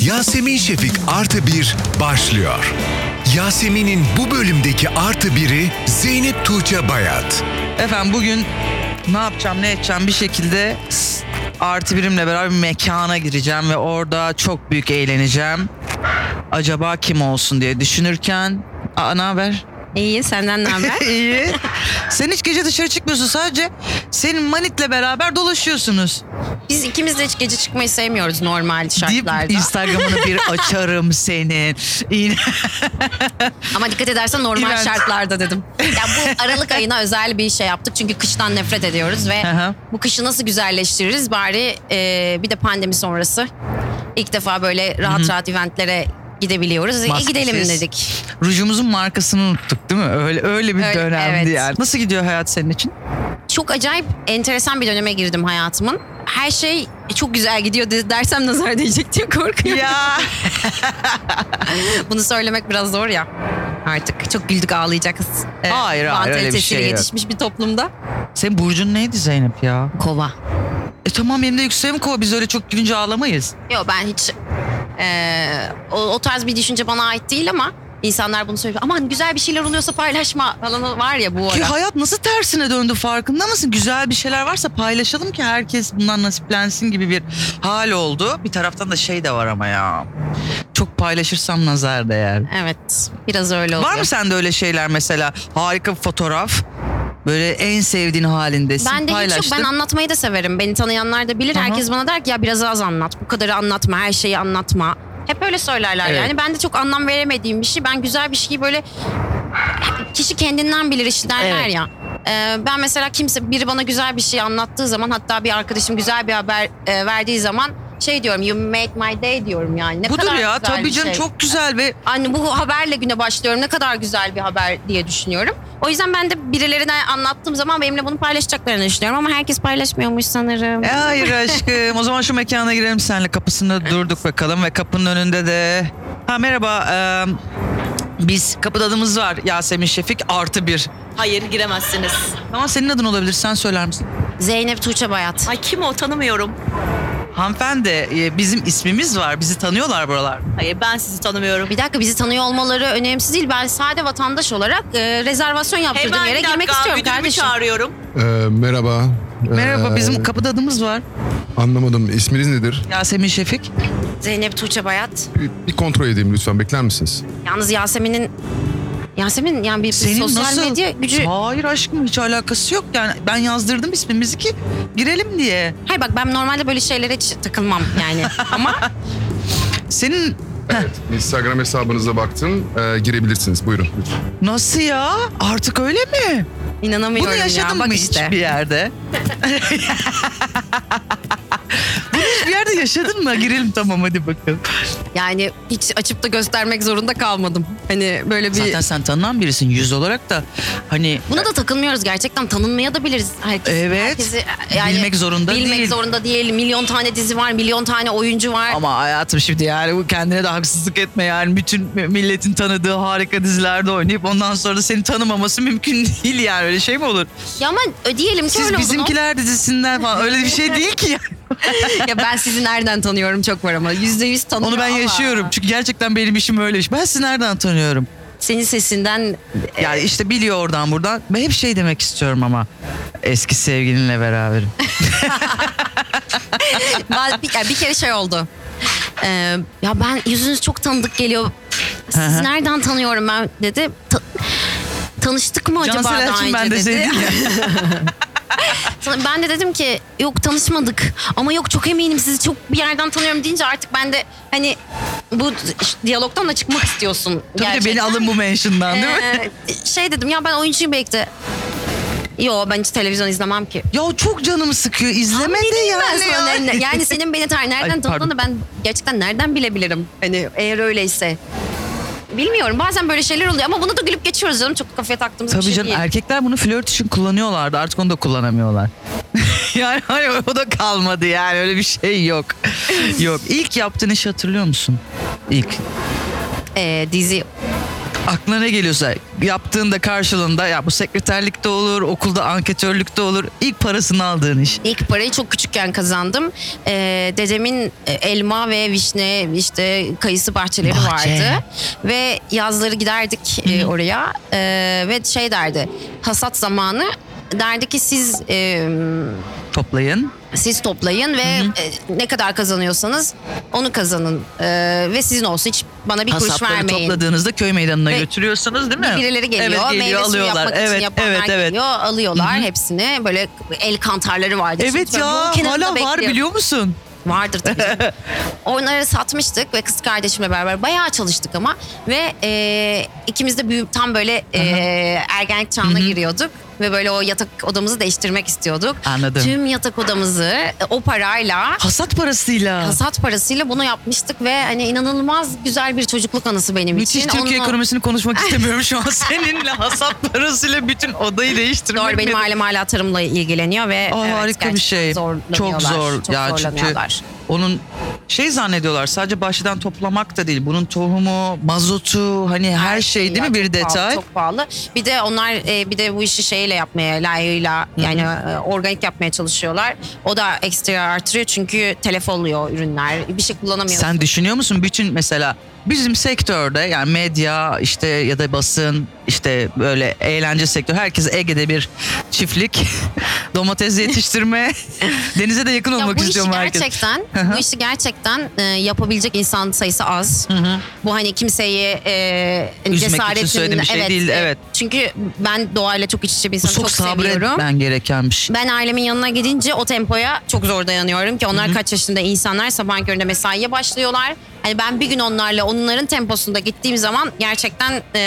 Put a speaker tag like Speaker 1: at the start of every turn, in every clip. Speaker 1: Yasemin Şefik Artı Bir başlıyor. Yasemin'in bu bölümdeki artı biri Zeynep Tuğçe Bayat.
Speaker 2: Efendim bugün ne yapacağım ne edeceğim bir şekilde s- artı birimle beraber bir mekana gireceğim ve orada çok büyük eğleneceğim. Acaba kim olsun diye düşünürken Aa ne haber?
Speaker 3: İyi senden ne haber?
Speaker 2: İyi. Sen hiç gece dışarı çıkmıyorsun sadece senin manitle beraber dolaşıyorsunuz.
Speaker 3: Biz ikimiz de hiç gece çıkmayı sevmiyoruz normal
Speaker 2: Deyip
Speaker 3: şartlarda.
Speaker 2: Instagram'ını bir açarım senin. İğne-
Speaker 3: Ama dikkat edersen normal
Speaker 2: İğrenç.
Speaker 3: şartlarda dedim. Ya bu Aralık ayına özel bir şey yaptık çünkü kıştan nefret ediyoruz ve
Speaker 2: Aha.
Speaker 3: bu kışı nasıl güzelleştiririz bari e, bir de pandemi sonrası ilk defa böyle rahat rahat eventlere gidebiliyoruz. E,
Speaker 2: Maskesiz.
Speaker 3: gidelim dedik.
Speaker 2: Rujumuzun markasını unuttuk değil mi? Öyle öyle bir
Speaker 3: Öyle,
Speaker 2: dönemdi
Speaker 3: evet.
Speaker 2: yani. Nasıl gidiyor hayat senin için?
Speaker 3: Çok acayip enteresan bir döneme girdim hayatımın. Her şey çok güzel gidiyor de- dersem nazar değecek diye korkuyorum.
Speaker 2: ya.
Speaker 3: Bunu söylemek biraz zor ya. Artık çok güldük ağlayacağız. Ee,
Speaker 2: Hayır, hayır, öyle bir şey
Speaker 3: mantalitesiyle
Speaker 2: yok.
Speaker 3: yetişmiş bir toplumda.
Speaker 2: Senin burcun neydi Zeynep ya?
Speaker 3: Kova.
Speaker 2: E tamam benim de yükseğim kova. Biz öyle çok gülünce ağlamayız.
Speaker 3: Yok ben hiç e, o, o tarz bir düşünce bana ait değil ama insanlar bunu söylüyor. Aman güzel bir şeyler oluyorsa paylaşma falan var ya bu
Speaker 2: Ki
Speaker 3: ara.
Speaker 2: hayat nasıl tersine döndü farkında mısın? Güzel bir şeyler varsa paylaşalım ki herkes bundan nasiplensin gibi bir hal oldu. Bir taraftan da şey de var ama ya. Çok paylaşırsam nazar değer.
Speaker 3: Evet biraz öyle oluyor.
Speaker 2: Var mı sende öyle şeyler mesela? Harika bir fotoğraf. Böyle en sevdiğin halindesin.
Speaker 3: Ben de hiç yok.
Speaker 2: paylaştın.
Speaker 3: Ben anlatmayı da severim. Beni tanıyanlar da bilir.
Speaker 2: Aha.
Speaker 3: Herkes bana der ki ya biraz az anlat. Bu kadarı anlatma. Her şeyi anlatma. Hep öyle söylerler
Speaker 2: Evet.
Speaker 3: yani. Ben de çok anlam veremediğim bir şey. Ben güzel bir şeyi böyle kişi kendinden bilir işte derler
Speaker 2: Evet.
Speaker 3: ya. Ee, ben mesela kimse biri bana güzel bir şey anlattığı zaman hatta bir arkadaşım güzel bir haber e, verdiği zaman şey diyorum you make my day diyorum yani. Ne
Speaker 2: Budur
Speaker 3: kadar
Speaker 2: ya
Speaker 3: güzel
Speaker 2: tabii
Speaker 3: bir
Speaker 2: canım
Speaker 3: şey.
Speaker 2: çok güzel ve
Speaker 3: Anne bu haberle güne başlıyorum. Ne kadar güzel bir haber diye düşünüyorum. O yüzden ben de birilerine anlattığım zaman benimle bunu paylaşacaklarını düşünüyorum. Ama herkes paylaşmıyormuş sanırım.
Speaker 2: E, hayır aşkım. O zaman şu mekana girelim senle. Kapısında durduk bakalım ve kapının önünde de... Ha merhaba. e, biz kapıda adımız var. Yasemin Şefik artı bir.
Speaker 4: Hayır giremezsiniz.
Speaker 2: Ama senin adın olabilir. Sen söyler misin?
Speaker 3: Zeynep Tuğçe Bayat.
Speaker 4: Ay kim o tanımıyorum.
Speaker 2: Hanımefendi e, bizim ismimiz var. Bizi tanıyorlar buralar.
Speaker 4: Hayır ben sizi tanımıyorum.
Speaker 3: Bir dakika bizi tanıyor olmaları önemsiz değil. Ben sade vatandaş olarak e, rezervasyon yaptırdığım
Speaker 4: Hemen
Speaker 3: yere
Speaker 4: bir dakika,
Speaker 3: girmek istiyorum
Speaker 4: müdürümü
Speaker 3: kardeşim.
Speaker 4: çağırıyorum.
Speaker 5: Ee, merhaba.
Speaker 2: Merhaba
Speaker 5: Ee,
Speaker 2: bizim kapıda adımız var.
Speaker 5: Anlamadım. İsminiz nedir?
Speaker 2: Yasemin Şefik.
Speaker 3: Zeynep Tuğçe Bayat.
Speaker 5: Bir, bir kontrol edeyim lütfen. Bekler misiniz?
Speaker 3: Yalnız Yasemin'in Yasemin yani bir, bir
Speaker 2: Senin
Speaker 3: sosyal
Speaker 2: nasıl?
Speaker 3: medya gücü.
Speaker 2: Hayır aşkım hiç alakası yok. Yani ben yazdırdım ismimizi ki girelim diye.
Speaker 3: Hayır bak ben normalde böyle şeylere hiç takılmam yani. Ama
Speaker 2: Senin
Speaker 5: Instagram hesabınıza baktım. Ee, girebilirsiniz. Buyurun. lütfen.
Speaker 2: nasıl ya? Artık öyle mi?
Speaker 3: inanamıyorum
Speaker 2: Bunu
Speaker 3: ya.
Speaker 2: yaşadın
Speaker 3: Bak
Speaker 2: mı
Speaker 3: işte.
Speaker 2: hiç bir yerde? Bunu hiç bir yerde yaşadın mı? Girelim tamam hadi bakalım.
Speaker 3: Yani hiç açıp da göstermek zorunda kalmadım. Hani böyle bir...
Speaker 2: Zaten sen tanınan birisin yüz olarak da hani
Speaker 3: Buna da takılmıyoruz gerçekten. Tanınmaya da biliriz. Herkes,
Speaker 2: Evet.
Speaker 3: herkesi,
Speaker 2: Bilmek zorunda
Speaker 3: bilmek
Speaker 2: değil.
Speaker 3: zorunda değil. Milyon tane dizi var, milyon tane oyuncu var.
Speaker 2: ama hayatım şimdi yani bu kendine de haksızlık etme yani bütün milletin tanıdığı harika dizilerde oynayıp ondan sonra da seni tanımaması mümkün değil yani öyle şey mi olur?
Speaker 3: Ya ama ödeyelim ki öyle
Speaker 2: Siz
Speaker 3: oldu, ne
Speaker 2: bizimkiler dizisinden falan öyle bir şey değil ki yani.
Speaker 3: oldu? ya ben sizi nereden tanıyorum çok var ama. Yüzde yüz tanıyorum
Speaker 2: Onu ben
Speaker 3: ama
Speaker 2: yaşıyorum çünkü gerçekten benim işim öyle iş. Ben sizi nereden tanıyorum?
Speaker 3: Senin sesinden
Speaker 2: Yani işte biliyor oradan buradan. Ben hep şey demek istiyorum ama eski sevgilinle beraberim.
Speaker 3: Ba- bir, ya bir kere şey oldu. Ee, ya ben yüzünüz çok tanıdık geliyor.
Speaker 2: Hı
Speaker 3: Siz
Speaker 2: hı.
Speaker 3: nereden tanıyorum ben dedi. Ta- tanıştık mı acaba
Speaker 2: Cansel
Speaker 3: daha
Speaker 2: Elçin
Speaker 3: önce
Speaker 2: ben de
Speaker 3: dedi.
Speaker 2: seni
Speaker 3: Sana- Ben de dedim ki yok tanışmadık ama yok çok eminim sizi çok bir yerden tanıyorum deyince artık ben de hani bu ş- diyalogtan da çıkmak istiyorsun.
Speaker 2: Tabii de
Speaker 3: gerçekten.
Speaker 2: beni alın bu mention'dan değil mi?
Speaker 3: Ee, şey dedim ya ben oyuncuyum belki de. Yo ben hiç televizyon izlemem ki.
Speaker 2: Ya çok canımı sıkıyor. İzleme de
Speaker 3: Ben
Speaker 2: yani.
Speaker 3: sana
Speaker 2: ya.
Speaker 3: ne- yani senin beni tar nereden
Speaker 2: Ay, pardon.
Speaker 3: tanıdığını ben gerçekten nereden bilebilirim? Hani eğer öyleyse. Bilmiyorum bazen böyle şeyler oluyor ama bunu da gülüp geçiyoruz canım çok kafaya taktığımız bir
Speaker 2: Tabii
Speaker 3: şey
Speaker 2: canım
Speaker 3: değil.
Speaker 2: erkekler bunu flört için kullanıyorlardı. Artık onu da kullanamıyorlar. yani hani o da kalmadı yani öyle bir şey yok. yok. İlk yaptığın işi hatırlıyor musun? İlk.
Speaker 3: Ee, dizi
Speaker 2: aklına ne geliyorsa yaptığında karşılığında ya bu sekreterlikte olur, okulda anketörlükte olur. ilk parasını aldığın iş.
Speaker 3: İlk parayı çok küçükken kazandım. Ee, dedemin e, elma ve vişne işte kayısı bahçeleri
Speaker 2: Bahçe.
Speaker 3: vardı. Ve yazları giderdik e, oraya Ee, ve şey derdi hasat zamanı derdi ki siz e,
Speaker 2: Toplayın.
Speaker 3: siz toplayın ve e, ne kadar kazanıyorsanız onu kazanın Ee, ve sizin olsun hiç bana bir kuruş
Speaker 2: Hasatları
Speaker 3: vermeyin.
Speaker 2: topladığınızda köy meydanına
Speaker 3: Ve
Speaker 2: götürüyorsunuz değil mi?
Speaker 3: Birileri geliyor,
Speaker 2: evet,
Speaker 3: meyve
Speaker 2: geliyor
Speaker 3: suyu
Speaker 2: alıyorlar.
Speaker 3: yapmak
Speaker 2: evet,
Speaker 3: için yapanlar
Speaker 2: evet, evet.
Speaker 3: geliyor, alıyorlar hepsini. Böyle el kantarları vardı.
Speaker 2: Evet
Speaker 3: Şimdi böyle yol
Speaker 2: ya
Speaker 3: kenarında
Speaker 2: hala var
Speaker 3: bekliyor.
Speaker 2: biliyor musun?
Speaker 3: Vardır tabii. canım. Onları satmıştık ve kız kardeşimle beraber bayağı çalıştık ama ve e, ikimiz de büyü- tam böyle e, ergenlik çağına giriyorduk ve böyle o yatak odamızı değiştirmek istiyorduk.
Speaker 2: Anladım.
Speaker 3: Tüm yatak odamızı e, o parayla
Speaker 2: Hasat parasıyla.
Speaker 3: hasat parasıyla bunu yapmıştık ve hani inanılmaz güzel bir çocukluk anısı benim
Speaker 2: Müthiş
Speaker 3: için.
Speaker 2: Türkiye
Speaker 3: Onunla-
Speaker 2: ekonomisini konuşmak istemiyorum şu an. Seninle hasat parasıyla bütün odayı değiştirmek.
Speaker 3: Doğru benim
Speaker 2: nedir?
Speaker 3: ailem hala tarımla ilgileniyor ve
Speaker 2: Aa,
Speaker 3: evet,
Speaker 2: harika bir
Speaker 3: gerçekten
Speaker 2: şey. Çok
Speaker 3: zorlanıyorlar,
Speaker 2: zor.
Speaker 3: Çok
Speaker 2: ya çünkü
Speaker 3: zorlanıyorlar.
Speaker 2: onun şey zannediyorlar sadece bahçeden toplamak da değil. Bunun tohumu, mazotu hani her şey değil
Speaker 3: Ya
Speaker 2: mi bir
Speaker 3: çok pahalı,
Speaker 2: detay?
Speaker 3: çok pahalı. Bir de onlar e, bir de bu işi şeyle yapmaya layığıyla yani e, organik yapmaya çalışıyorlar. O da ekstra artırıyor çünkü telef oluyor ürünler. Bir şey kullanamıyorsun.
Speaker 2: Sen düşünüyor musun bütün mesela bizim sektörde yani medya işte ya da basın işte böyle eğlence sektörü herkes Ege'de bir çiftlik domates yetiştirme denize de yakın
Speaker 3: ya
Speaker 2: olmak
Speaker 3: bu işi
Speaker 2: istiyorum herkes.
Speaker 3: gerçekten
Speaker 2: Hı hı.
Speaker 3: bu işi gerçekten e, yapabilecek insan sayısı az. Bu hani kimseyi e,
Speaker 2: Üzmek için
Speaker 3: cesaretin
Speaker 2: söylediğim bir şey değil,
Speaker 3: e,
Speaker 2: evet.
Speaker 3: Çünkü ben doğayla çok iç içe bir
Speaker 2: Bu
Speaker 3: insanım.
Speaker 2: çok
Speaker 3: seviyorum.
Speaker 2: sabretmen gereken bir şey.
Speaker 3: Ben ailemin yanına gidince o tempoya çok zor dayanıyorum ki onlar kaç yaşında insanlar sabah köründe mesaiye başlıyorlar. Hani ben bir gün onlarla onların temposunda gittiğim zaman gerçekten e,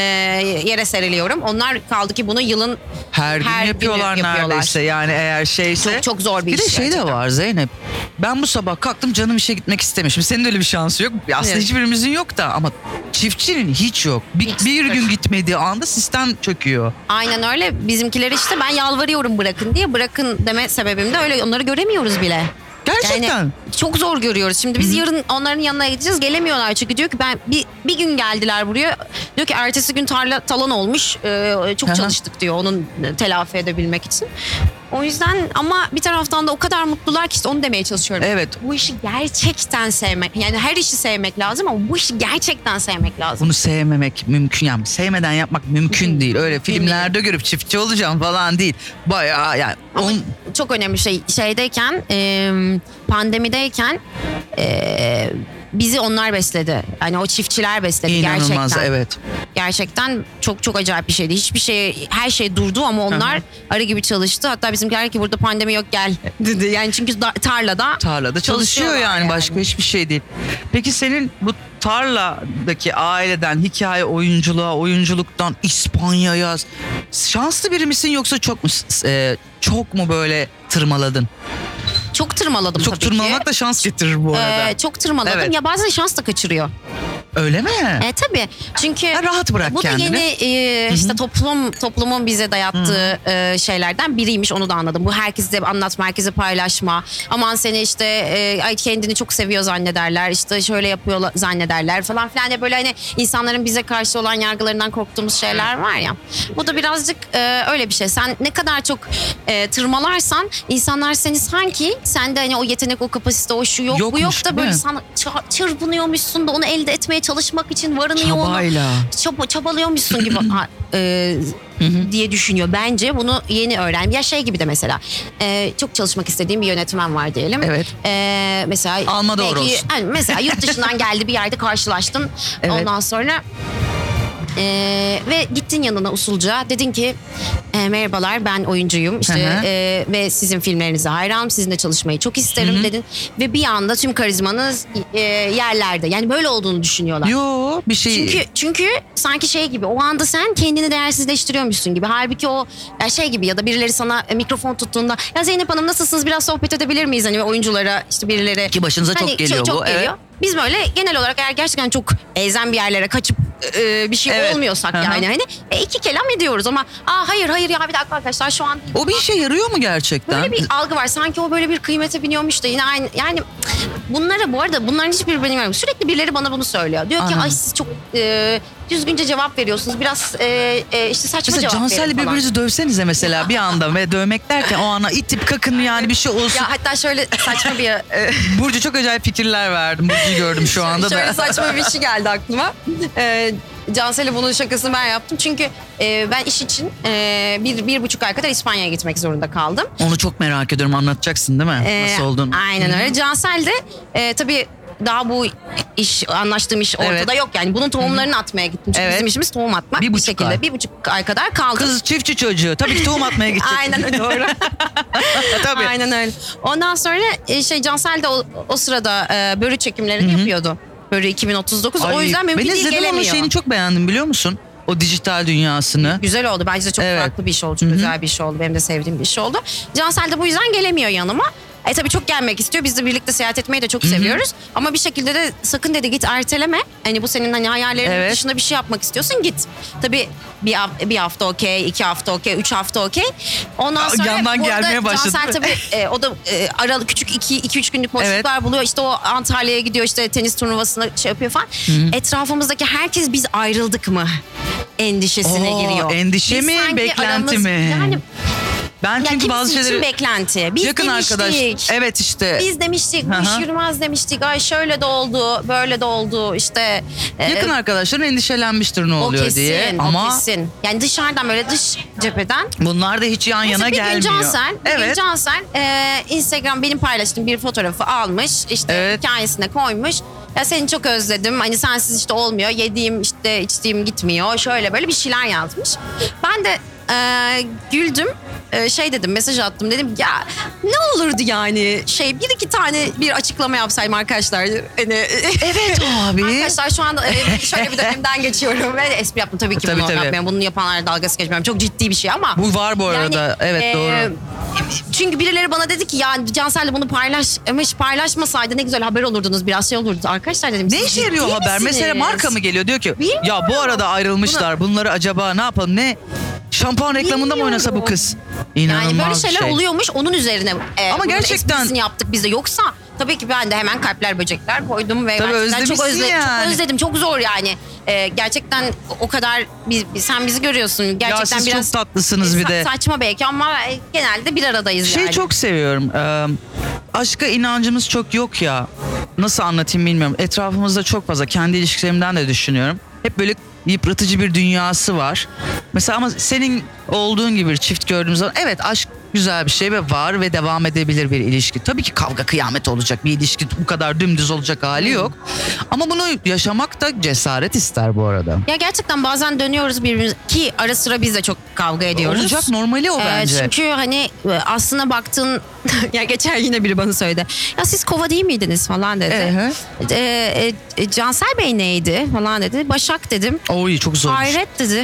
Speaker 3: yere seriliyorum. Onlar kaldı ki bunu yılın
Speaker 2: Her,
Speaker 3: Her
Speaker 2: gün
Speaker 3: gün
Speaker 2: yapıyorlar,
Speaker 3: yapıyorlar.
Speaker 2: neredeyse yani eğer şeyse.
Speaker 3: Çok- çok zor bir
Speaker 2: de
Speaker 3: iş
Speaker 2: şey de
Speaker 3: gerçekten.
Speaker 2: var Zeynep. Ben bu sabah kalktım canım işe gitmek istemişim. Senin de öyle bir şansı yok. Aslında
Speaker 3: Evet.
Speaker 2: hiçbirimizin yok da ama çiftçinin hiç yok. Bir,
Speaker 3: Hiç
Speaker 2: bir
Speaker 3: sıfır.
Speaker 2: gün gitmediği anda sistem çöküyor.
Speaker 3: aynen öyle bizimkiler işte ben yalvarıyorum bırakın diye bırakın deme sebebim de öyle onları göremiyoruz bile.
Speaker 2: Gerçekten.
Speaker 3: Yani çok zor görüyoruz. Şimdi biz yarın onların yanına gideceğiz. Gelemiyorlar çünkü diyor ki ben bir, bir gün geldiler buraya. Diyor ki ertesi gün tarla talan olmuş. Ee,
Speaker 2: Aha.
Speaker 3: çok çalıştık diyor onun e, telafi edebilmek için. O yüzden ama bir taraftan da o kadar mutlular ki işte onu demeye çalışıyorum.
Speaker 2: Evet.
Speaker 3: Bu işi gerçekten sevmek. Yani her işi sevmek lazım ama bu işi gerçekten sevmek lazım.
Speaker 2: Bunu sevmemek mümkün yani sevmeden yapmak mümkün değil. Öyle filmlerde görüp çiftçi olacağım falan değil. Bayağı yani on,
Speaker 3: çok önemli şey şeydeyken e, pandemideyken e, bizi onlar besledi. Yani o çiftçiler besledi
Speaker 2: inanılmaz
Speaker 3: gerçekten.
Speaker 2: evet.
Speaker 3: gerçekten çok çok acayip bir şeydi. Hiçbir şey her şey durdu ama onlar
Speaker 2: Aha.
Speaker 3: arı gibi çalıştı. Hatta bizimkiler ki burada pandemi yok gel
Speaker 2: E,
Speaker 3: dedi. Yani çünkü da- tarlada
Speaker 2: tarlada çalışıyor
Speaker 3: Çalışıyorlar
Speaker 2: yani,
Speaker 3: yani.
Speaker 2: başka hiçbir şey değil. Peki senin bu tarladaki aileden hikaye oyunculuğa, oyunculuktan İspanya'ya şanslı biri misin yoksa çok mu e, çok mu böyle tırmaladın?
Speaker 3: çok tırmaladım
Speaker 2: çok
Speaker 3: tabii
Speaker 2: tırmalamak
Speaker 3: ki.
Speaker 2: da şans getirir bu arada.
Speaker 3: Ee, çok tırmaladım.
Speaker 2: Evet.
Speaker 3: Ya bazen şans da kaçırıyor.
Speaker 2: Öyle mi?
Speaker 3: E tabii. Çünkü
Speaker 2: Ha, rahat bırak
Speaker 3: bu da
Speaker 2: kendini.
Speaker 3: yeni e, işte toplum toplumun bize dayattığı e, şeylerden biriymiş onu da anladım. Bu herkese anlatma, herkese paylaşma. Aman seni işte e, ay kendini çok seviyor zannederler. işte şöyle yapıyor zannederler falan filan diye böyle hani insanların bize karşı olan yargılarından korktuğumuz şeyler var ya. Bu da birazcık e, öyle bir şey. Sen ne kadar çok e, tırmalarsan insanlar seni sanki sende hani o yetenek, o kapasite, o şu yok, bu
Speaker 2: Yokmuş,
Speaker 3: yok da
Speaker 2: değil
Speaker 3: böyle
Speaker 2: mi?
Speaker 3: sana ça- çırpınıyormuşsun da onu elde etmeye çalışmak için varın Çabalıyor onu.
Speaker 2: Çabayla.
Speaker 3: Çaba, çabalıyormuşsun gibi ha, e, diye düşünüyor. Bence bunu yeni öğren. Ya şey gibi de mesela e, çok çalışmak istediğim bir yönetmen var diyelim.
Speaker 2: Evet.
Speaker 3: E, mesela
Speaker 2: Alma doğru olsun.
Speaker 3: hani mesela yurt dışından geldi bir yerde karşılaştın.
Speaker 2: Evet.
Speaker 3: Ondan sonra e, ve gittin yanına usulca dedin ki e, merhabalar ben oyuncuyum
Speaker 2: Hı
Speaker 3: işte
Speaker 2: hı.
Speaker 3: e, ve sizin filmlerinize hayranım sizinle çalışmayı çok isterim dedin ve bir anda tüm karizmanız e, yerlerde yani böyle olduğunu düşünüyorlar.
Speaker 2: Yo bir şey.
Speaker 3: Çünkü çünkü sanki şey gibi o anda sen kendini değersizleştiriyormuşsun gibi. Halbuki o ya şey gibi ya da birileri sana e, mikrofon tuttuğunda ya Zeynep Hanım nasılsınız biraz sohbet edebilir miyiz hani oyunculara işte birileri.
Speaker 2: Ki başınıza çok
Speaker 3: Hani
Speaker 2: geliyor bu,
Speaker 3: Çok geliyor.
Speaker 2: evet.
Speaker 3: Biz böyle genel olarak eğer gerçekten çok ezen bir yerlere kaçıp e, bir şey
Speaker 2: Evet.
Speaker 3: olmuyorsak
Speaker 2: Hı hı.
Speaker 3: yani hani e, iki kelam ediyoruz ama aa hayır hayır ya bir dakika arkadaşlar şu an değil."
Speaker 2: O bir işe yarıyor mu gerçekten?
Speaker 3: Böyle bir algı var. Sanki o böyle bir kıymete biniyormuş da yine aynı. Yani bunları bu arada bunların hiçbiri benim yok. Sürekli birileri bana bunu söylüyor. Diyor ki
Speaker 2: Anladım.
Speaker 3: ay siz çok e, düzgünce cevap veriyorsunuz. Biraz e, e, işte saçma
Speaker 2: Mesela
Speaker 3: cevap
Speaker 2: Cansel'le
Speaker 3: verin falan.
Speaker 2: birbirinizi dövsenize mesela bir anda ve dövmek derken o ana itip kakın yani bir şey olsun.
Speaker 3: Ya hatta şöyle saçma bir e,
Speaker 2: Burcu çok acayip fikirler verdim. Burcu'yu gördüm şu anda
Speaker 3: şöyle
Speaker 2: da.
Speaker 3: saçma bir şey geldi aklıma. E, Cansel'e bunun şakasını ben yaptım. Çünkü e, ben iş için e, bir, bir buçuk ay kadar İspanya'ya gitmek zorunda kaldım.
Speaker 2: Onu çok merak ediyorum anlatacaksın değil mi?
Speaker 3: Ee,
Speaker 2: Nasıl olduğunu.
Speaker 3: Aynen öyle. Cansel de e, tabii daha bu iş anlaştığım iş ortada
Speaker 2: Evet.
Speaker 3: yok yani. Bunun tohumlarını atmaya gittim. Çünkü
Speaker 2: Evet.
Speaker 3: bizim işimiz tohum atmak.
Speaker 2: Bir
Speaker 3: Bir,
Speaker 2: buçuk
Speaker 3: şekilde
Speaker 2: ay.
Speaker 3: bir buçuk ay kadar kaldık.
Speaker 2: Kız çiftçi çocuğu. Tabii ki tohum atmaya gidecek.
Speaker 3: Aynen öyle, doğru.
Speaker 2: Tabii.
Speaker 3: Aynen öyle. Ondan sonra e, şey Cansel de o, o sırada e, börü çekimlerini yapıyordu. Börü 2039. o
Speaker 2: Ay,
Speaker 3: yüzden mümkün
Speaker 2: Ben
Speaker 3: değil
Speaker 2: izledim onun
Speaker 3: gelemiyor.
Speaker 2: şeyini çok beğendim biliyor musun? O dijital dünyasını.
Speaker 3: Güzel oldu. Bence de çok
Speaker 2: Evet.
Speaker 3: farklı bir iş oldu. Çok güzel bir iş oldu. Benim de sevdiğim bir iş oldu. Cansel de bu yüzden gelemiyor yanıma. E tabii çok gelmek istiyor. Biz de birlikte seyahat etmeyi de çok seviyoruz. Ama bir şekilde de sakın dedi git erteleme. Hani bu senin hani hayallerinin
Speaker 2: Evet.
Speaker 3: dışında bir şey yapmak istiyorsun git. Tabii bir, haf- bir hafta okey, iki hafta okey, üç hafta okey. Ondan
Speaker 2: Aa,
Speaker 3: sonra
Speaker 2: yandan
Speaker 3: bu arada
Speaker 2: gelmeye başladı.
Speaker 3: Cansel tabii e, o da e, aralı küçük iki, iki üç günlük boşluklar buluyor. İşte o Antalya'ya gidiyor işte tenis turnuvasına şey yapıyor falan. Etrafımızdaki herkes biz ayrıldık mı? endişesine
Speaker 2: Oo,
Speaker 3: giriyor.
Speaker 2: endişe
Speaker 3: Biz
Speaker 2: mi,
Speaker 3: sanki
Speaker 2: beklenti mi?
Speaker 3: Yani
Speaker 2: Ben
Speaker 3: ya
Speaker 2: çünkü bazı
Speaker 3: kimisi için
Speaker 2: şeyleri
Speaker 3: beklenti. Biz
Speaker 2: yakın
Speaker 3: demiştik.
Speaker 2: arkadaş. Evet işte.
Speaker 3: Biz demiştik bu
Speaker 2: Aha.
Speaker 3: iş yürümez demiştik. Ay şöyle de oldu, böyle de oldu. İşte e,
Speaker 2: yakın arkadaşların endişelenmiştir ne
Speaker 3: o
Speaker 2: oluyor
Speaker 3: kesin,
Speaker 2: diye.
Speaker 3: o
Speaker 2: Ama
Speaker 3: kesin. Yani dışarıdan böyle dış cepheden
Speaker 2: bunlar da hiç yan yana
Speaker 3: Mesela
Speaker 2: gelmiyor.
Speaker 3: bir gün Cansel, bir gün
Speaker 2: evet.
Speaker 3: Cansel e, Instagram benim paylaştığım bir fotoğrafı almış. işte
Speaker 2: Evet.
Speaker 3: hikayesine koymuş. Ya seni çok özledim. Hani sensiz işte olmuyor. Yediğim işte içtiğim gitmiyor. Şöyle böyle bir şeyler yazmış. Ben de e, güldüm. E, şey dedim mesaj attım dedim ya ne olurdu yani şey bir iki tane bir açıklama yapsaydım arkadaşlar hani
Speaker 2: Evet abi.
Speaker 3: Arkadaşlar şu anda e, şöyle bir dönemden geçiyorum ve espri yaptım tabii ki
Speaker 2: Tabii,
Speaker 3: bunu
Speaker 2: tabii.
Speaker 3: yapmıyorum. Bunu yapanlara dalgası geçmiyorum. Çok ciddi bir şey ama. e,
Speaker 2: Bu var bu arada. Evet, doğru.
Speaker 3: Çünkü birileri bana dedi ki ya Cansel'le bunu paylaş ama hiç paylaşmasaydı ne güzel haber olurdunuz biraz şey olurdu. Arkadaşlar dedim.
Speaker 2: Ne
Speaker 3: siz
Speaker 2: işe
Speaker 3: ciddi
Speaker 2: yarıyor haber?
Speaker 3: misiniz?
Speaker 2: Mesela marka mı geliyor diyor ki ya bu arada ayrılmışlar. Bunları acaba ne yapalım? Ne şampuan reklamında mı oynasa bu
Speaker 3: Bilmiyorum.
Speaker 2: kız? İnanılmaz
Speaker 3: Yani böyle
Speaker 2: bir
Speaker 3: şeyler
Speaker 2: şey.
Speaker 3: oluyormuş onun üzerine. e,
Speaker 2: Ama
Speaker 3: bunun
Speaker 2: gerçekten-
Speaker 3: esprisini yaptık biz de yoksa tabii ki ben de hemen kalpler böcekler koydum ve
Speaker 2: Tabii
Speaker 3: gerçekten çok,
Speaker 2: özlemişsin yani.
Speaker 3: çok özledim çok zor yani. E, gerçekten o kadar biz, sen bizi görüyorsun
Speaker 2: Ya
Speaker 3: gerçekten
Speaker 2: siz
Speaker 3: biraz e,
Speaker 2: çok tatlısınız bir
Speaker 3: Sa-
Speaker 2: de.
Speaker 3: Saçma belki ama e, genelde bir aradayız
Speaker 2: Şeyi
Speaker 3: yani.
Speaker 2: çok seviyorum. Ee, aşka inancımız çok yok ya. Nasıl anlatayım bilmiyorum. Etrafımızda çok fazla kendi ilişkilerimden de düşünüyorum. Hep böyle yıpratıcı bir dünyası var. Mesela ama senin olduğun gibi bir çift gördüğümüz zaman evet aşk güzel bir şey ve var ve devam edebilir bir ilişki. Tabii ki kavga kıyamet olacak bir ilişki bu kadar dümdüz olacak hali yok. Ama bunu yaşamak da cesaret ister bu arada.
Speaker 3: Ya gerçekten bazen dönüyoruz birbirimize ki ara sıra biz de çok kavga ediyoruz.
Speaker 2: Olacak normali o
Speaker 3: Ee,
Speaker 2: bence.
Speaker 3: çünkü hani e, aslına baktığın ya geçer yine biri bana söyledi. Ya siz kova değil miydiniz falan dedi.
Speaker 2: Ehe.
Speaker 3: E, e, e, Cansel Bey neydi falan dedi. Başak dedim.
Speaker 2: Oy çok zor.
Speaker 3: Hayret dedi.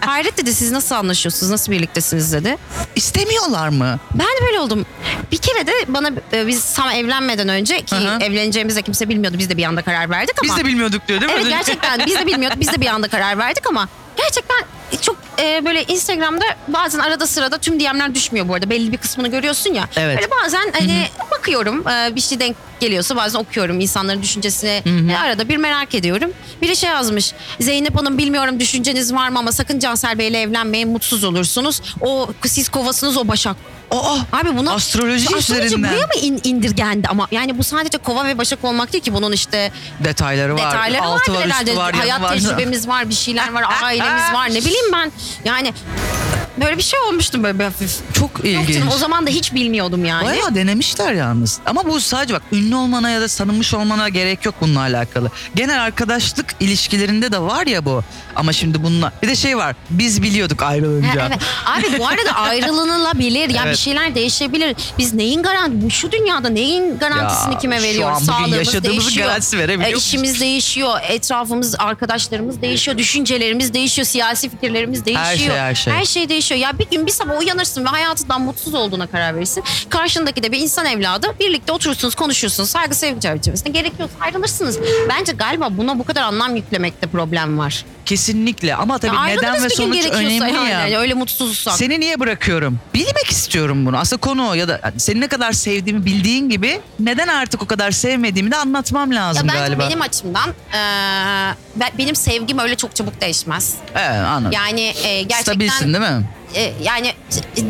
Speaker 3: Hayret dedi siz nasıl anlaşıyorsunuz? Nasıl birliktesiniz dedi.
Speaker 2: İstemiyorlar mı?
Speaker 3: Ben de böyle oldum. Bir kere de bana e, biz tam evlenmeden önce ki
Speaker 2: Hı hı.
Speaker 3: evleneceğimizi de kimse bilmiyordu. Biz de bir anda karar verdik ama.
Speaker 2: Biz de bilmiyorduk diyor değil mi?
Speaker 3: Evet gerçekten biz de bilmiyorduk. Biz de bir anda karar verdik ama gerçekten çok e, böyle Instagram'da bazen arada sırada tüm DM'ler düşmüyor bu arada. Belli bir kısmını görüyorsun ya.
Speaker 2: Evet.
Speaker 3: Böyle bazen hani bakıyorum e, bir şey denk geliyorsa bazen okuyorum insanların düşüncesini. E, arada bir merak ediyorum. Biri şey yazmış. Zeynep Hanım bilmiyorum düşünceniz var mı ama sakın Cansel Bey'le evlenmeyin mutsuz olursunuz. O siz kovasınız o başak.
Speaker 2: Aa,
Speaker 3: Abi bunu
Speaker 2: Astroloji üzerinden.
Speaker 3: buraya mı in- indirgendi ama yani bu sadece kova ve başak olmak değil ki bunun işte
Speaker 2: detayları var.
Speaker 3: detayları
Speaker 2: Altı var,
Speaker 3: vardır herhalde.
Speaker 2: üstü var, yanı
Speaker 3: Hayat
Speaker 2: var. Ah,
Speaker 3: tecrübemiz var, bir şeyler var, ailemiz var. Ne bileyim ben. Yani böyle bir şey olmuştum böyle bir hafif.
Speaker 2: Çok
Speaker 3: Yok
Speaker 2: ilginç.
Speaker 3: canım, o zaman hani- da hiç bilmiyordum yani.
Speaker 2: Bayağı denemişler yalnız. Ama bu sadece bak ünlü olmana ya da tanınmış olmana gerek yok bununla alakalı. Genel arkadaşlık ilişkilerinde de var ya bu. Ama şimdi bununla bir de şey var. Biz biliyorduk
Speaker 3: Ha,
Speaker 2: ayrılınca.
Speaker 3: evet. Abi bu arada ayrılınılabilir. Yani
Speaker 2: Evet.
Speaker 3: bir şeyler değişebilir. Biz neyin garanti bu şu dünyada neyin garantisini
Speaker 2: Ya,
Speaker 3: kime
Speaker 2: şu
Speaker 3: veriyoruz?
Speaker 2: an bugün
Speaker 3: Sağlığımız
Speaker 2: yaşadığımızın
Speaker 3: değişiyor. E,
Speaker 2: garantisi verebiliyor musun?
Speaker 3: işimiz değişiyor. Etrafımız, arkadaşlarımız değişiyor. Düşüncelerimiz değişiyor. Siyasi fikirlerimiz değişiyor.
Speaker 2: her şey.
Speaker 3: Her şey değişiyor. Ya bir gün bir sabah uyanırsın ve hayatından mutsuz olduğuna karar verirsin. Karşındaki de bir insan evladı. Birlikte oturursunuz, konuşursunuz. Saygı sevgi çerçevesinde gerekiyorsa ayrılırsınız. Bence galiba buna bu kadar anlam yüklemekte problem var.
Speaker 2: Kesinlikle ama tabii
Speaker 3: ya
Speaker 2: neden
Speaker 3: ayrılırız
Speaker 2: ve
Speaker 3: bir gün
Speaker 2: sonuç
Speaker 3: gerekiyorsa
Speaker 2: önemli
Speaker 3: yani. hani
Speaker 2: ya.
Speaker 3: Yani Öyle mutsuzsak.
Speaker 2: Seni niye bırakıyorum? Bilmek istiyorum bunu. Aslında konu o ya da yani seni ne kadar sevdiğimi bildiğin gibi neden artık o kadar sevmediğimi de anlatmam
Speaker 3: Ya
Speaker 2: lazım
Speaker 3: bence
Speaker 2: galiba.
Speaker 3: benim açımdan eee, ben- benim sevgim öyle çok çabuk değişmez.
Speaker 2: Evet anladım.
Speaker 3: Yani e, gerçekten
Speaker 2: Stabilsin değil mi?
Speaker 3: e, yani e,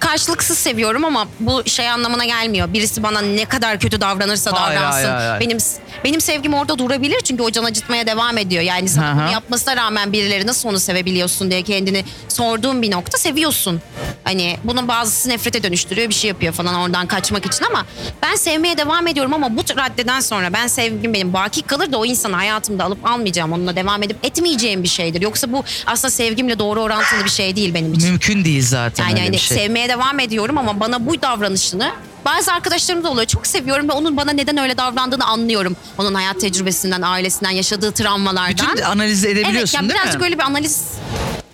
Speaker 3: karşılıksız seviyorum ama bu şey anlamına gelmiyor. Birisi bana ne kadar kötü davranırsa
Speaker 2: Hayır,
Speaker 3: davransın.
Speaker 2: hayır, hayır, hayır.
Speaker 3: Benim benim sevgim orada durabilir çünkü o can acıtmaya devam ediyor. Yani
Speaker 2: Hı
Speaker 3: sana
Speaker 2: hı.
Speaker 3: bunu yapmasına rağmen birileri nasıl onu sevebiliyorsun diye kendini sorduğun bir nokta seviyorsun. Hani bunun bazısı nefrete dönüştürüyor bir şey yapıyor falan oradan kaçmak için ama ben sevmeye devam ediyorum ama bu raddeden sonra ben sevgim benim baki kalır da o insanı hayatımda alıp almayacağım onunla devam edip etmeyeceğim bir şeydir. Yoksa bu aslında sevgimle doğru orantılı bir şey değil benim için.
Speaker 2: Mümkün değil zaten
Speaker 3: Yani
Speaker 2: öyle
Speaker 3: hani
Speaker 2: bir şey.
Speaker 3: sevmeye devam ediyorum ama bana bu davranışını bazı arkadaşlarım da oluyor. Çok seviyorum ve onun bana neden öyle davrandığını anlıyorum. Onun hayat tecrübesinden, ailesinden, yaşadığı travmalardan.
Speaker 2: Bütün analiz
Speaker 3: evet,
Speaker 2: edebiliyorsun
Speaker 3: yani
Speaker 2: değil mi?
Speaker 3: birazcık öyle bir analiz.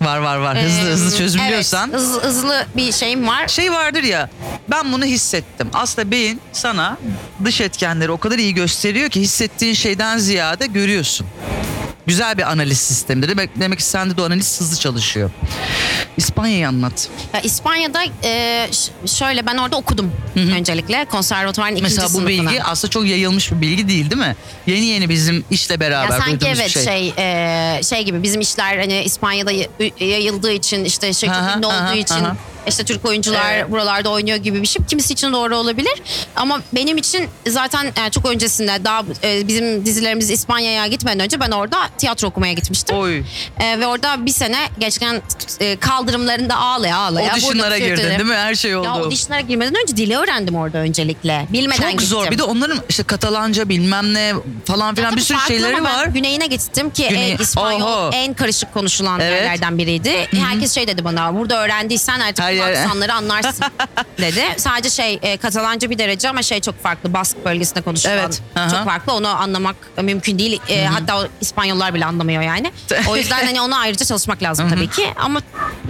Speaker 2: Var var var. Hızlı
Speaker 3: e,
Speaker 2: hızlı çözümlüyorsan.
Speaker 3: Evet, hız- hızlı bir şeyim var.
Speaker 2: Şey vardır ya ben bunu hissettim. Aslında beyin sana dış etkenleri o kadar iyi gösteriyor ki hissettiğin şeyden ziyade görüyorsun. Güzel bir analiz sistemidir. Demek, demek ki sende de o analiz hızlı çalışıyor. İspanya'yı anlat.
Speaker 3: Ya İspanya'da e, ş- şöyle ben orada okudum öncelikle. Konservatuvarın ikinci
Speaker 2: Mesela bu
Speaker 3: sınıfına.
Speaker 2: bilgi aslında çok yayılmış bir bilgi değil değil mi? Yeni yeni bizim işle beraber
Speaker 3: Ya sanki
Speaker 2: duyduğumuz bir
Speaker 3: evet şey
Speaker 2: şey.
Speaker 3: şey, e, şey gibi bizim işler hani İspanya'da y- yayıldığı için işte şey çok
Speaker 2: Aha,
Speaker 3: ünlü
Speaker 2: aha,
Speaker 3: olduğu için
Speaker 2: aha.
Speaker 3: işte Türk oyuncular
Speaker 2: Evet.
Speaker 3: buralarda oynuyor gibi bir şey. Kimisi için doğru olabilir ama benim için zaten e, çok öncesinde daha e, bizim dizilerimiz İspanya'ya gitmeden önce ben orada tiyatro okumaya gitmiştim.
Speaker 2: Oy.
Speaker 3: E, ve orada bir sene gerçekten e, kaldırımlarında ağlaya ağlaya.
Speaker 2: Audition'lara
Speaker 3: burada
Speaker 2: girdin
Speaker 3: sürekli-
Speaker 2: değil mi? Her şey oldu.
Speaker 3: Ya audition'lara girmeden önce dili öğrendim orada öncelikle. Bilmeden
Speaker 2: çok
Speaker 3: gittim.
Speaker 2: zor. Bir de onların işte Katalanca bilmem ne falan filan
Speaker 3: E, Tabii
Speaker 2: bir sürü
Speaker 3: farklı
Speaker 2: şeyleri
Speaker 3: ama ben
Speaker 2: var.
Speaker 3: Güneyine gittim ki
Speaker 2: Güney-
Speaker 3: en İspanyol
Speaker 2: Oho.
Speaker 3: en karışık konuşulan
Speaker 2: Evet.
Speaker 3: yerlerden biriydi. Herkes şey dedi bana burada öğrendiysen artık
Speaker 2: Her
Speaker 3: bu
Speaker 2: yer-
Speaker 3: aksanları anlarsın dedi. Sadece şey e, Katalanca bir derece ama şey çok farklı Bask bölgesinde konuşulan
Speaker 2: Evet, aha.
Speaker 3: çok farklı onu anlamak mümkün değil. E, hatta o İspanyollar bile anlamıyor yani. O yüzden hani ona ayrıca çalışmak lazım tabii ki ama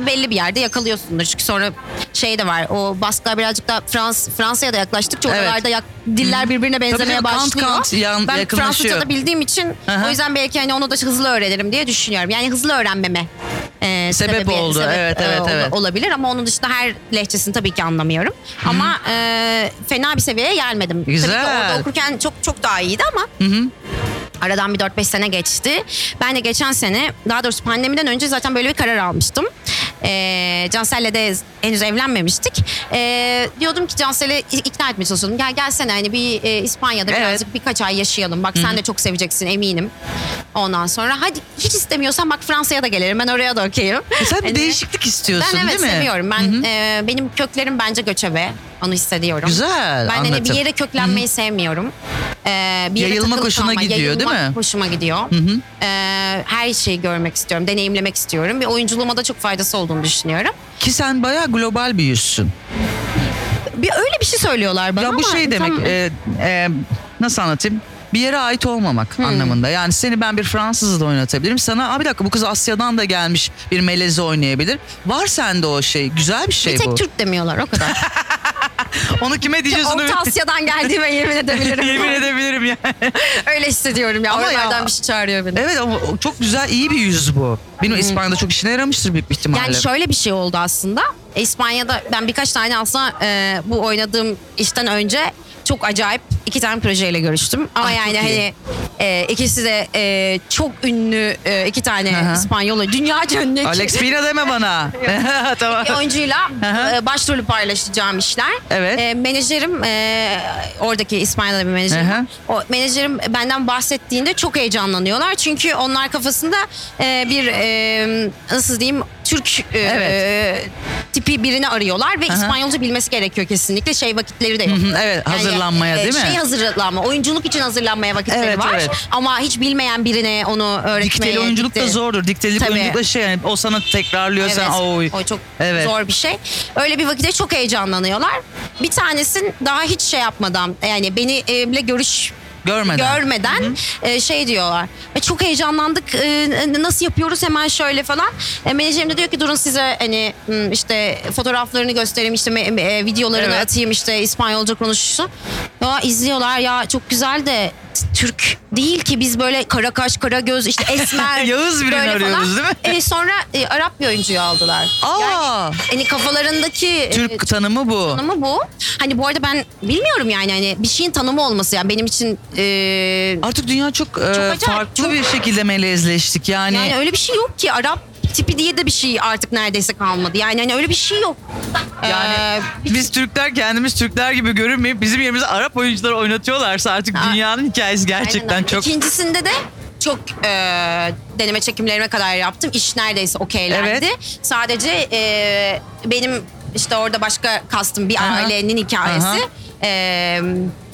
Speaker 3: belli bir yerde yakalıyorsundur. Çünkü sonra şey de var o Basklar birazcık da Frans, Fransa'ya da yaklaştıkça
Speaker 2: Evet.
Speaker 3: oralarda yak- diller birbirine benzemeye
Speaker 2: canım, kant
Speaker 3: başlıyor.
Speaker 2: kant yan-
Speaker 3: ben
Speaker 2: yakınlaşıyor.
Speaker 3: Fransızca da bildiğim için
Speaker 2: Aha.
Speaker 3: o yüzden belki hani onu da hızlı öğrenirim diye düşünüyorum. Yani hızlı öğrenmeme e,
Speaker 2: Sebep oldu. Evet, evet,
Speaker 3: ola-
Speaker 2: evet.
Speaker 3: Olabilir ama onun dışında her lehçesini tabii ki anlamıyorum. Ama e, fena bir seviyeye gelmedim. Tabii ki
Speaker 2: Güzel.
Speaker 3: orada okurken çok çok daha iyiydi ama Aradan bir 4-5 sene geçti. Ben de geçen sene daha doğrusu pandemiden önce zaten böyle bir karar almıştım. Ee, Cansel'le de henüz evlenmemiştik. Ee, diyordum ki Cansel'i i- ikna etmeye çalışıyordum. Gel gelsene hani bir e, İspanya'da
Speaker 2: Evet.
Speaker 3: birazcık birkaç ay yaşayalım. Bak sen de çok seveceksin eminim. Ondan sonra hadi hiç istemiyorsan bak Fransa'ya da gelelim. Ben oraya da okeyim.
Speaker 2: E Sen bir
Speaker 3: Hani-
Speaker 2: değişiklik istiyorsun
Speaker 3: ben evet
Speaker 2: değil mi?
Speaker 3: seviyorum. Ben e, benim köklerim bence göçebe. Onu hissediyorum.
Speaker 2: Güzel,
Speaker 3: Ben hani bir
Speaker 2: anlatım.
Speaker 3: yere köklenmeyi sevmiyorum. E, bir yere
Speaker 2: Yayılmak
Speaker 3: takılı
Speaker 2: hoşuna
Speaker 3: kalma,
Speaker 2: gidiyor, değil
Speaker 3: yayılmak
Speaker 2: mi?
Speaker 3: Hoşuma gidiyor. E, her şeyi görmek istiyorum, deneyimlemek istiyorum. Ve oyunculuğuma da çok faydası olduğunu düşünüyorum.
Speaker 2: Ki sen bayağı global bir yüzsün.
Speaker 3: Bir öyle bir şey söylüyorlar bana
Speaker 2: Ya
Speaker 3: ama
Speaker 2: bu şey demek
Speaker 3: tam-
Speaker 2: e, e, nasıl anlatayım? Bir yere ait olmamak
Speaker 3: Hmm.
Speaker 2: anlamında. Yani seni ben bir Fransızla da oynatabilirim. Sana "Aa, bir dakika bu kız Asya'dan da gelmiş bir melezi oynayabilir. Var sende o şey. Güzel bir şey
Speaker 3: bir tek
Speaker 2: bu.
Speaker 3: Türk demiyorlar o kadar.
Speaker 2: Onu kime diyeceğiz onu
Speaker 3: Orta Asya'dan geldiğime yemin edebilirim.
Speaker 2: yemin edebilirim yani.
Speaker 3: Öyle hissediyorum ya.
Speaker 2: Ama ya-
Speaker 3: Oralardan bir şey çağırıyor beni.
Speaker 2: evet ama o çok güzel iyi bir yüz bu. Benim İspanya'da çok işine yaramıştır büyük bir ihtimalle.
Speaker 3: Hmm. Yani şöyle bir şey oldu aslında. İspanya'da ben birkaç tane aslında e, bu oynadığım işten önce çok acayip iki tane projeyle görüştüm. Ama
Speaker 2: Ay, çok
Speaker 3: yani
Speaker 2: iyi.
Speaker 3: hani e, ikisi de e, çok ünlü e, iki tane
Speaker 2: Aha.
Speaker 3: İspanyol oyun- dünyaca ünlü iki-
Speaker 2: Alex Pina deme bana. tamam.
Speaker 3: bir oyuncuyla
Speaker 2: Aha.
Speaker 3: e, başrolü paylaşacağım işler.
Speaker 2: Evet.
Speaker 3: E, menajerim e, oradaki İspanya'da bir menajerim.
Speaker 2: Aha.
Speaker 3: var. O menajerim benden bahsettiğinde çok heyecanlanıyorlar. Çünkü onlar kafasında e, bir e, nasıl diyeyim Türk e,
Speaker 2: Evet.
Speaker 3: e, tipi birini arıyorlar ve
Speaker 2: Aha.
Speaker 3: İspanyolca bilmesi gerekiyor kesinlikle. Şey vakitleri de yok.
Speaker 2: Hı hı, evet, hazırlanmaya değil mi?
Speaker 3: Şey hazırlanma, oyunculuk için hazırlanmaya vakitleri
Speaker 2: Evet,
Speaker 3: var.
Speaker 2: evet.
Speaker 3: Ama hiç bilmeyen birine onu öğretmeye...
Speaker 2: Dikteli oyunculuk da
Speaker 3: gitti.
Speaker 2: zordur. Dikteli
Speaker 3: Tabii.
Speaker 2: oyunculuk da şey yani o sana tekrarlıyor sen oy.
Speaker 3: O çok
Speaker 2: Evet.
Speaker 3: zor bir şey. Öyle bir vakitte çok heyecanlanıyorlar. Bir tanesin daha hiç şey yapmadan yani beni e, bile görüş
Speaker 2: Görmeden.
Speaker 3: görmeden e, şey diyorlar. E, çok heyecanlandık. E, n- nasıl yapıyoruz hemen şöyle falan. E, menajerim de diyor ki durun size hani m, işte fotoğraflarını göstereyim işte me- me- e, videolarını
Speaker 4: Evet.
Speaker 3: atayım işte İspanyolca konuşusu. Ya izliyorlar ya çok güzel de t- Türk değil ki biz böyle kara kaş kara göz işte esmer
Speaker 2: Yağız birini
Speaker 3: böyle
Speaker 2: arıyoruz,
Speaker 3: falan.
Speaker 2: değil mi?
Speaker 3: E, sonra e, Arap bir oyuncuyu aldılar.
Speaker 2: Aa!
Speaker 3: Yani, hani kafalarındaki e,
Speaker 2: Türk tanımı bu.
Speaker 3: tanımı bu. Hani bu arada ben bilmiyorum yani hani bir şeyin tanımı olması yani benim için e,
Speaker 2: Artık dünya çok, e,
Speaker 3: acayip,
Speaker 2: farklı
Speaker 3: çok-
Speaker 2: bir şekilde melezleştik. Yani,
Speaker 3: yani öyle bir şey yok ki Arap tipi diye de bir şey artık neredeyse kalmadı. Yani hani öyle bir şey yok. Ee,
Speaker 2: yani biz
Speaker 3: şey-
Speaker 2: Türkler kendimiz Türkler gibi görünmeyip bizim yerimize Arap oyuncuları oynatıyorlarsa artık
Speaker 3: Aa,
Speaker 2: dünyanın hikayesi gerçekten
Speaker 3: Aynen.
Speaker 2: çok
Speaker 3: İkincisinde de çok e, deneme çekimlerime kadar yaptım. İş neredeyse okeylendi. Sadece e, benim işte orada başka kastım bir
Speaker 2: Aha.
Speaker 3: ailenin hikayesi.
Speaker 2: Aha.
Speaker 3: E,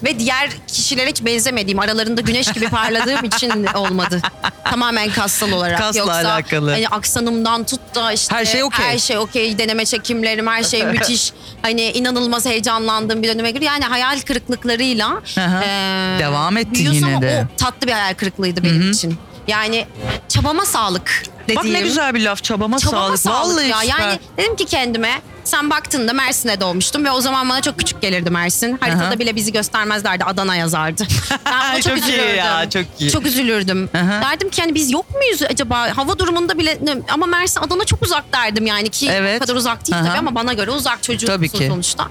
Speaker 3: ve diğer kişilere hiç benzemediğim aralarında güneş gibi parladığım için olmadı. Tamamen kassal olarak.
Speaker 2: Kasla
Speaker 3: Yoksa
Speaker 2: alakalı.
Speaker 3: Hani aksanımdan tut da işte
Speaker 2: Her şey okey.
Speaker 3: her şey okey deneme çekimlerim her şey müthiş. Hani inanılmaz heyecanlandığım bir döneme giriyor. Yani hayal kırıklıklarıyla e,
Speaker 2: Aha. Devam etti
Speaker 3: büyüyorsun
Speaker 2: yine
Speaker 3: ama
Speaker 2: de.
Speaker 3: O tatlı bir hayal kırıklığıydı benim için. Yani çabama sağlık dediğim.
Speaker 2: Bak ne güzel bir laf çabama,
Speaker 3: Çabama
Speaker 2: sağlık.
Speaker 3: sağlık,
Speaker 2: Vallahi
Speaker 3: ya.
Speaker 2: süper.
Speaker 3: Yani dedim ki kendime sen baktığında Mersin'e doğmuştum ve o zaman bana çok küçük gelirdi Mersin. Haritada
Speaker 2: Aha.
Speaker 3: bile bizi göstermezlerdi Adana yazardı. Ben buna çok,
Speaker 2: Çok iyi
Speaker 3: üzülürdüm.
Speaker 2: ya, çok iyi.
Speaker 3: Çok üzülürdüm.
Speaker 2: Aha.
Speaker 3: Derdim ki hani biz yok muyuz acaba hava durumunda bile ama Mersin Adana çok uzak derdim yani ki
Speaker 2: Evet.
Speaker 3: o kadar uzak değil
Speaker 2: Aha.
Speaker 3: tabii ama bana göre uzak çocuğu
Speaker 2: Tabii
Speaker 3: musun
Speaker 2: ki.
Speaker 3: sonuçta.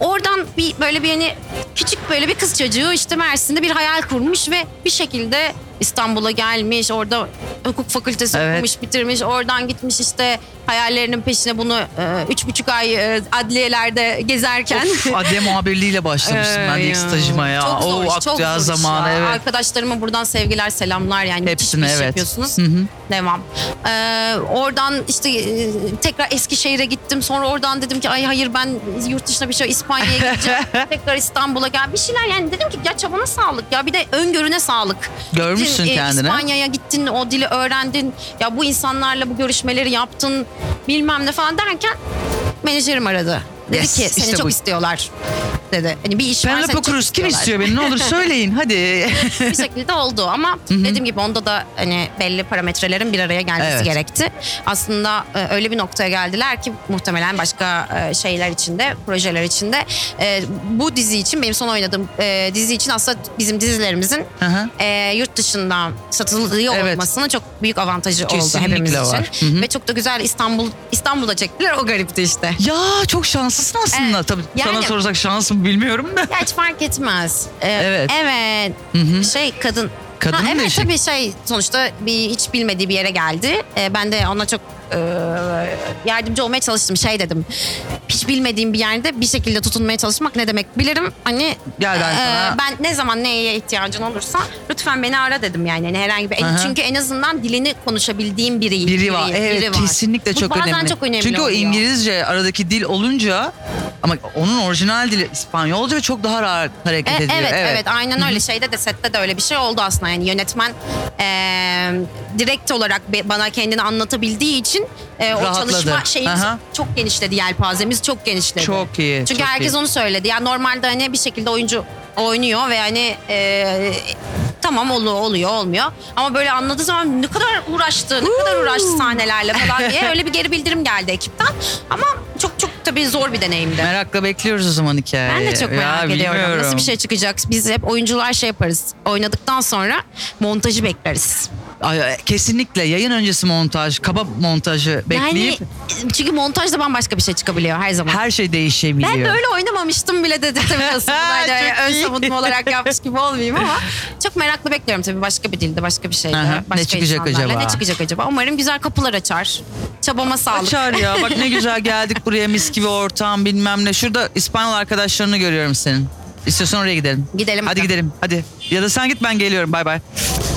Speaker 3: Oradan bir böyle bir hani küçük böyle bir kız çocuğu işte Mersin'de bir hayal kurmuş ve bir şekilde İstanbul'a gelmiş. Orada hukuk fakültesi
Speaker 2: Evet.
Speaker 3: okumuş, bitirmiş. Oradan gitmiş işte hayallerinin peşine bunu e, üç buçuk ay e, adliyelerde gezerken.
Speaker 2: Of, adliye muhabirliğiyle başlamıştım ben de ilk
Speaker 3: Ya.
Speaker 2: stajıma ya.
Speaker 3: Çok
Speaker 2: o
Speaker 3: zor, iş, çok
Speaker 2: aktıya
Speaker 3: zor iş
Speaker 2: zamanı
Speaker 3: ya.
Speaker 2: evet.
Speaker 3: Arkadaşlarıma buradan sevgiler, selamlar yani. müthiş
Speaker 2: Hepsine,
Speaker 3: bir iş
Speaker 2: evet.
Speaker 3: yapıyorsunuz.
Speaker 2: Hı hı.
Speaker 3: Devam. Ee, oradan işte e, tekrar Eskişehir'e gittim. Sonra oradan dedim ki ay hayır ben yurt dışına bir şey İspanya'ya gideceğim. tekrar İstanbul'a gel. Bir şeyler yani dedim ki ya çabana sağlık ya bir de öngörüne sağlık.
Speaker 2: Görmüşsün
Speaker 3: Gittin, e,
Speaker 2: kendini.
Speaker 3: İspanya'ya gittin o dili öğrendin. Ya bu insanlarla bu görüşmeleri yaptın bilmem ne falan derken menajerim aradı. Dedi
Speaker 2: Yes,
Speaker 3: ki seni
Speaker 2: işte
Speaker 3: çok
Speaker 2: bu.
Speaker 3: istiyorlar dedi. Hani bir iş var seni
Speaker 2: Penelope
Speaker 3: çok
Speaker 2: Cruz kim
Speaker 3: istiyorlar.
Speaker 2: istiyor beni ne olur söyleyin hadi.
Speaker 3: bir şekilde oldu ama dediğim gibi onda da hani belli parametrelerin bir araya gelmesi
Speaker 2: Evet.
Speaker 3: gerekti. Aslında e, öyle bir noktaya geldiler ki muhtemelen başka e, şeyler içinde, projeler içinde E, bu dizi için benim son oynadığım e, dizi için aslında bizim dizilerimizin
Speaker 2: Hı hı.
Speaker 3: e, yurt dışından satılıyor
Speaker 2: Evet.
Speaker 3: olmasının çok büyük avantajı
Speaker 2: Kesinlikle
Speaker 3: oldu hepimiz
Speaker 2: var.
Speaker 3: için.
Speaker 2: Hı hı.
Speaker 3: Ve çok da güzel İstanbul İstanbul'da çektiler o garipti işte.
Speaker 2: Ya çok şanslısın aslında.
Speaker 3: Evet,
Speaker 2: Tabii sana
Speaker 3: yani-
Speaker 2: sorsak şans mı bilmiyorum da.
Speaker 3: Ya hiç fark etmez. Ee,
Speaker 2: Evet.
Speaker 3: Evet. Şey kadın.
Speaker 2: Kadının
Speaker 3: ha,
Speaker 2: da
Speaker 3: evet
Speaker 2: işi.
Speaker 3: tabii şey sonuçta bir hiç bilmediği bir yere geldi. Ee, ben de ona çok e, yardımcı olmaya çalıştım. Şey dedim. Hiç bilmediğim bir yerde bir şekilde tutunmaya çalışmak ne demek bilirim. Hani
Speaker 2: Gel ben sana-
Speaker 3: ben ne zaman neye ihtiyacın olursa lütfen beni ara dedim yani. Hani herhangi bir
Speaker 2: Hı hı.
Speaker 3: çünkü en azından dilini konuşabildiğim biri
Speaker 2: Biri var. Evet kesinlikle
Speaker 3: Bu
Speaker 2: çok
Speaker 3: bazen
Speaker 2: önemli.
Speaker 3: çok önemli
Speaker 2: Çünkü o
Speaker 3: oluyor.
Speaker 2: İngilizce aradaki dil olunca ama onun orijinal dili İspanyolca ve çok daha rahat hareket
Speaker 3: E,
Speaker 2: ediyor.
Speaker 3: evet, evet aynen öyle şeyde de sette de öyle bir şey oldu aslında yani yönetmen e, direkt olarak be- bana kendini anlatabildiği için e, o
Speaker 2: Rahatladı.
Speaker 3: çalışma şeyimiz
Speaker 2: Aha.
Speaker 3: çok genişledi yelpazemiz çok genişledi.
Speaker 2: Çok iyi,
Speaker 3: Çünkü
Speaker 2: çok
Speaker 3: herkes
Speaker 2: iyi.
Speaker 3: onu söyledi yani normalde hani bir şekilde oyuncu oynuyor ve hani e, tamam oluyor oluyor olmuyor ama böyle anladığı zaman ne kadar uğraştı ne kadar uğraştı sahnelerle falan diye öyle bir geri bildirim geldi ekipten ama çok çok tabii zor bir deneyimdi.
Speaker 2: Merakla bekliyoruz o zaman hikayeyi.
Speaker 3: Ben de çok merak
Speaker 2: Ee, Ya,
Speaker 3: ediyorum. Nasıl
Speaker 2: bilmiyorum.
Speaker 3: bir şey çıkacak? Biz hep oyuncular şey yaparız. Oynadıktan sonra montajı bekleriz.
Speaker 2: Ay, e, kesinlikle yayın öncesi montaj, kaba montajı bekleyip
Speaker 3: Yani çünkü montajda bambaşka bir şey çıkabiliyor her zaman.
Speaker 2: her şey değişebiliyor.
Speaker 3: ben de öyle oynamamıştım bile dedi tabii aslında. Hani öyle
Speaker 2: Çok iyi.
Speaker 3: ön savunma olarak yapmış gibi olmayayım ama çok merakla bekliyorum tabii başka bir dilde, başka bir şeyde,
Speaker 2: Aha,
Speaker 3: başka
Speaker 2: ne çıkacak
Speaker 3: insanlarla.
Speaker 2: acaba?
Speaker 3: Ne çıkacak acaba? Umarım güzel kapılar açar. Çabama sağlık.
Speaker 2: Açar ya bak ne güzel geldik buraya mis gibi ortam bilmem ne. Şurada İspanyol arkadaşlarını görüyorum senin. İstiyorsan oraya gidelim. Hadi
Speaker 3: Gidelim bakalım.
Speaker 2: gidelim hadi. Ya da sen git ben geliyorum bay bay.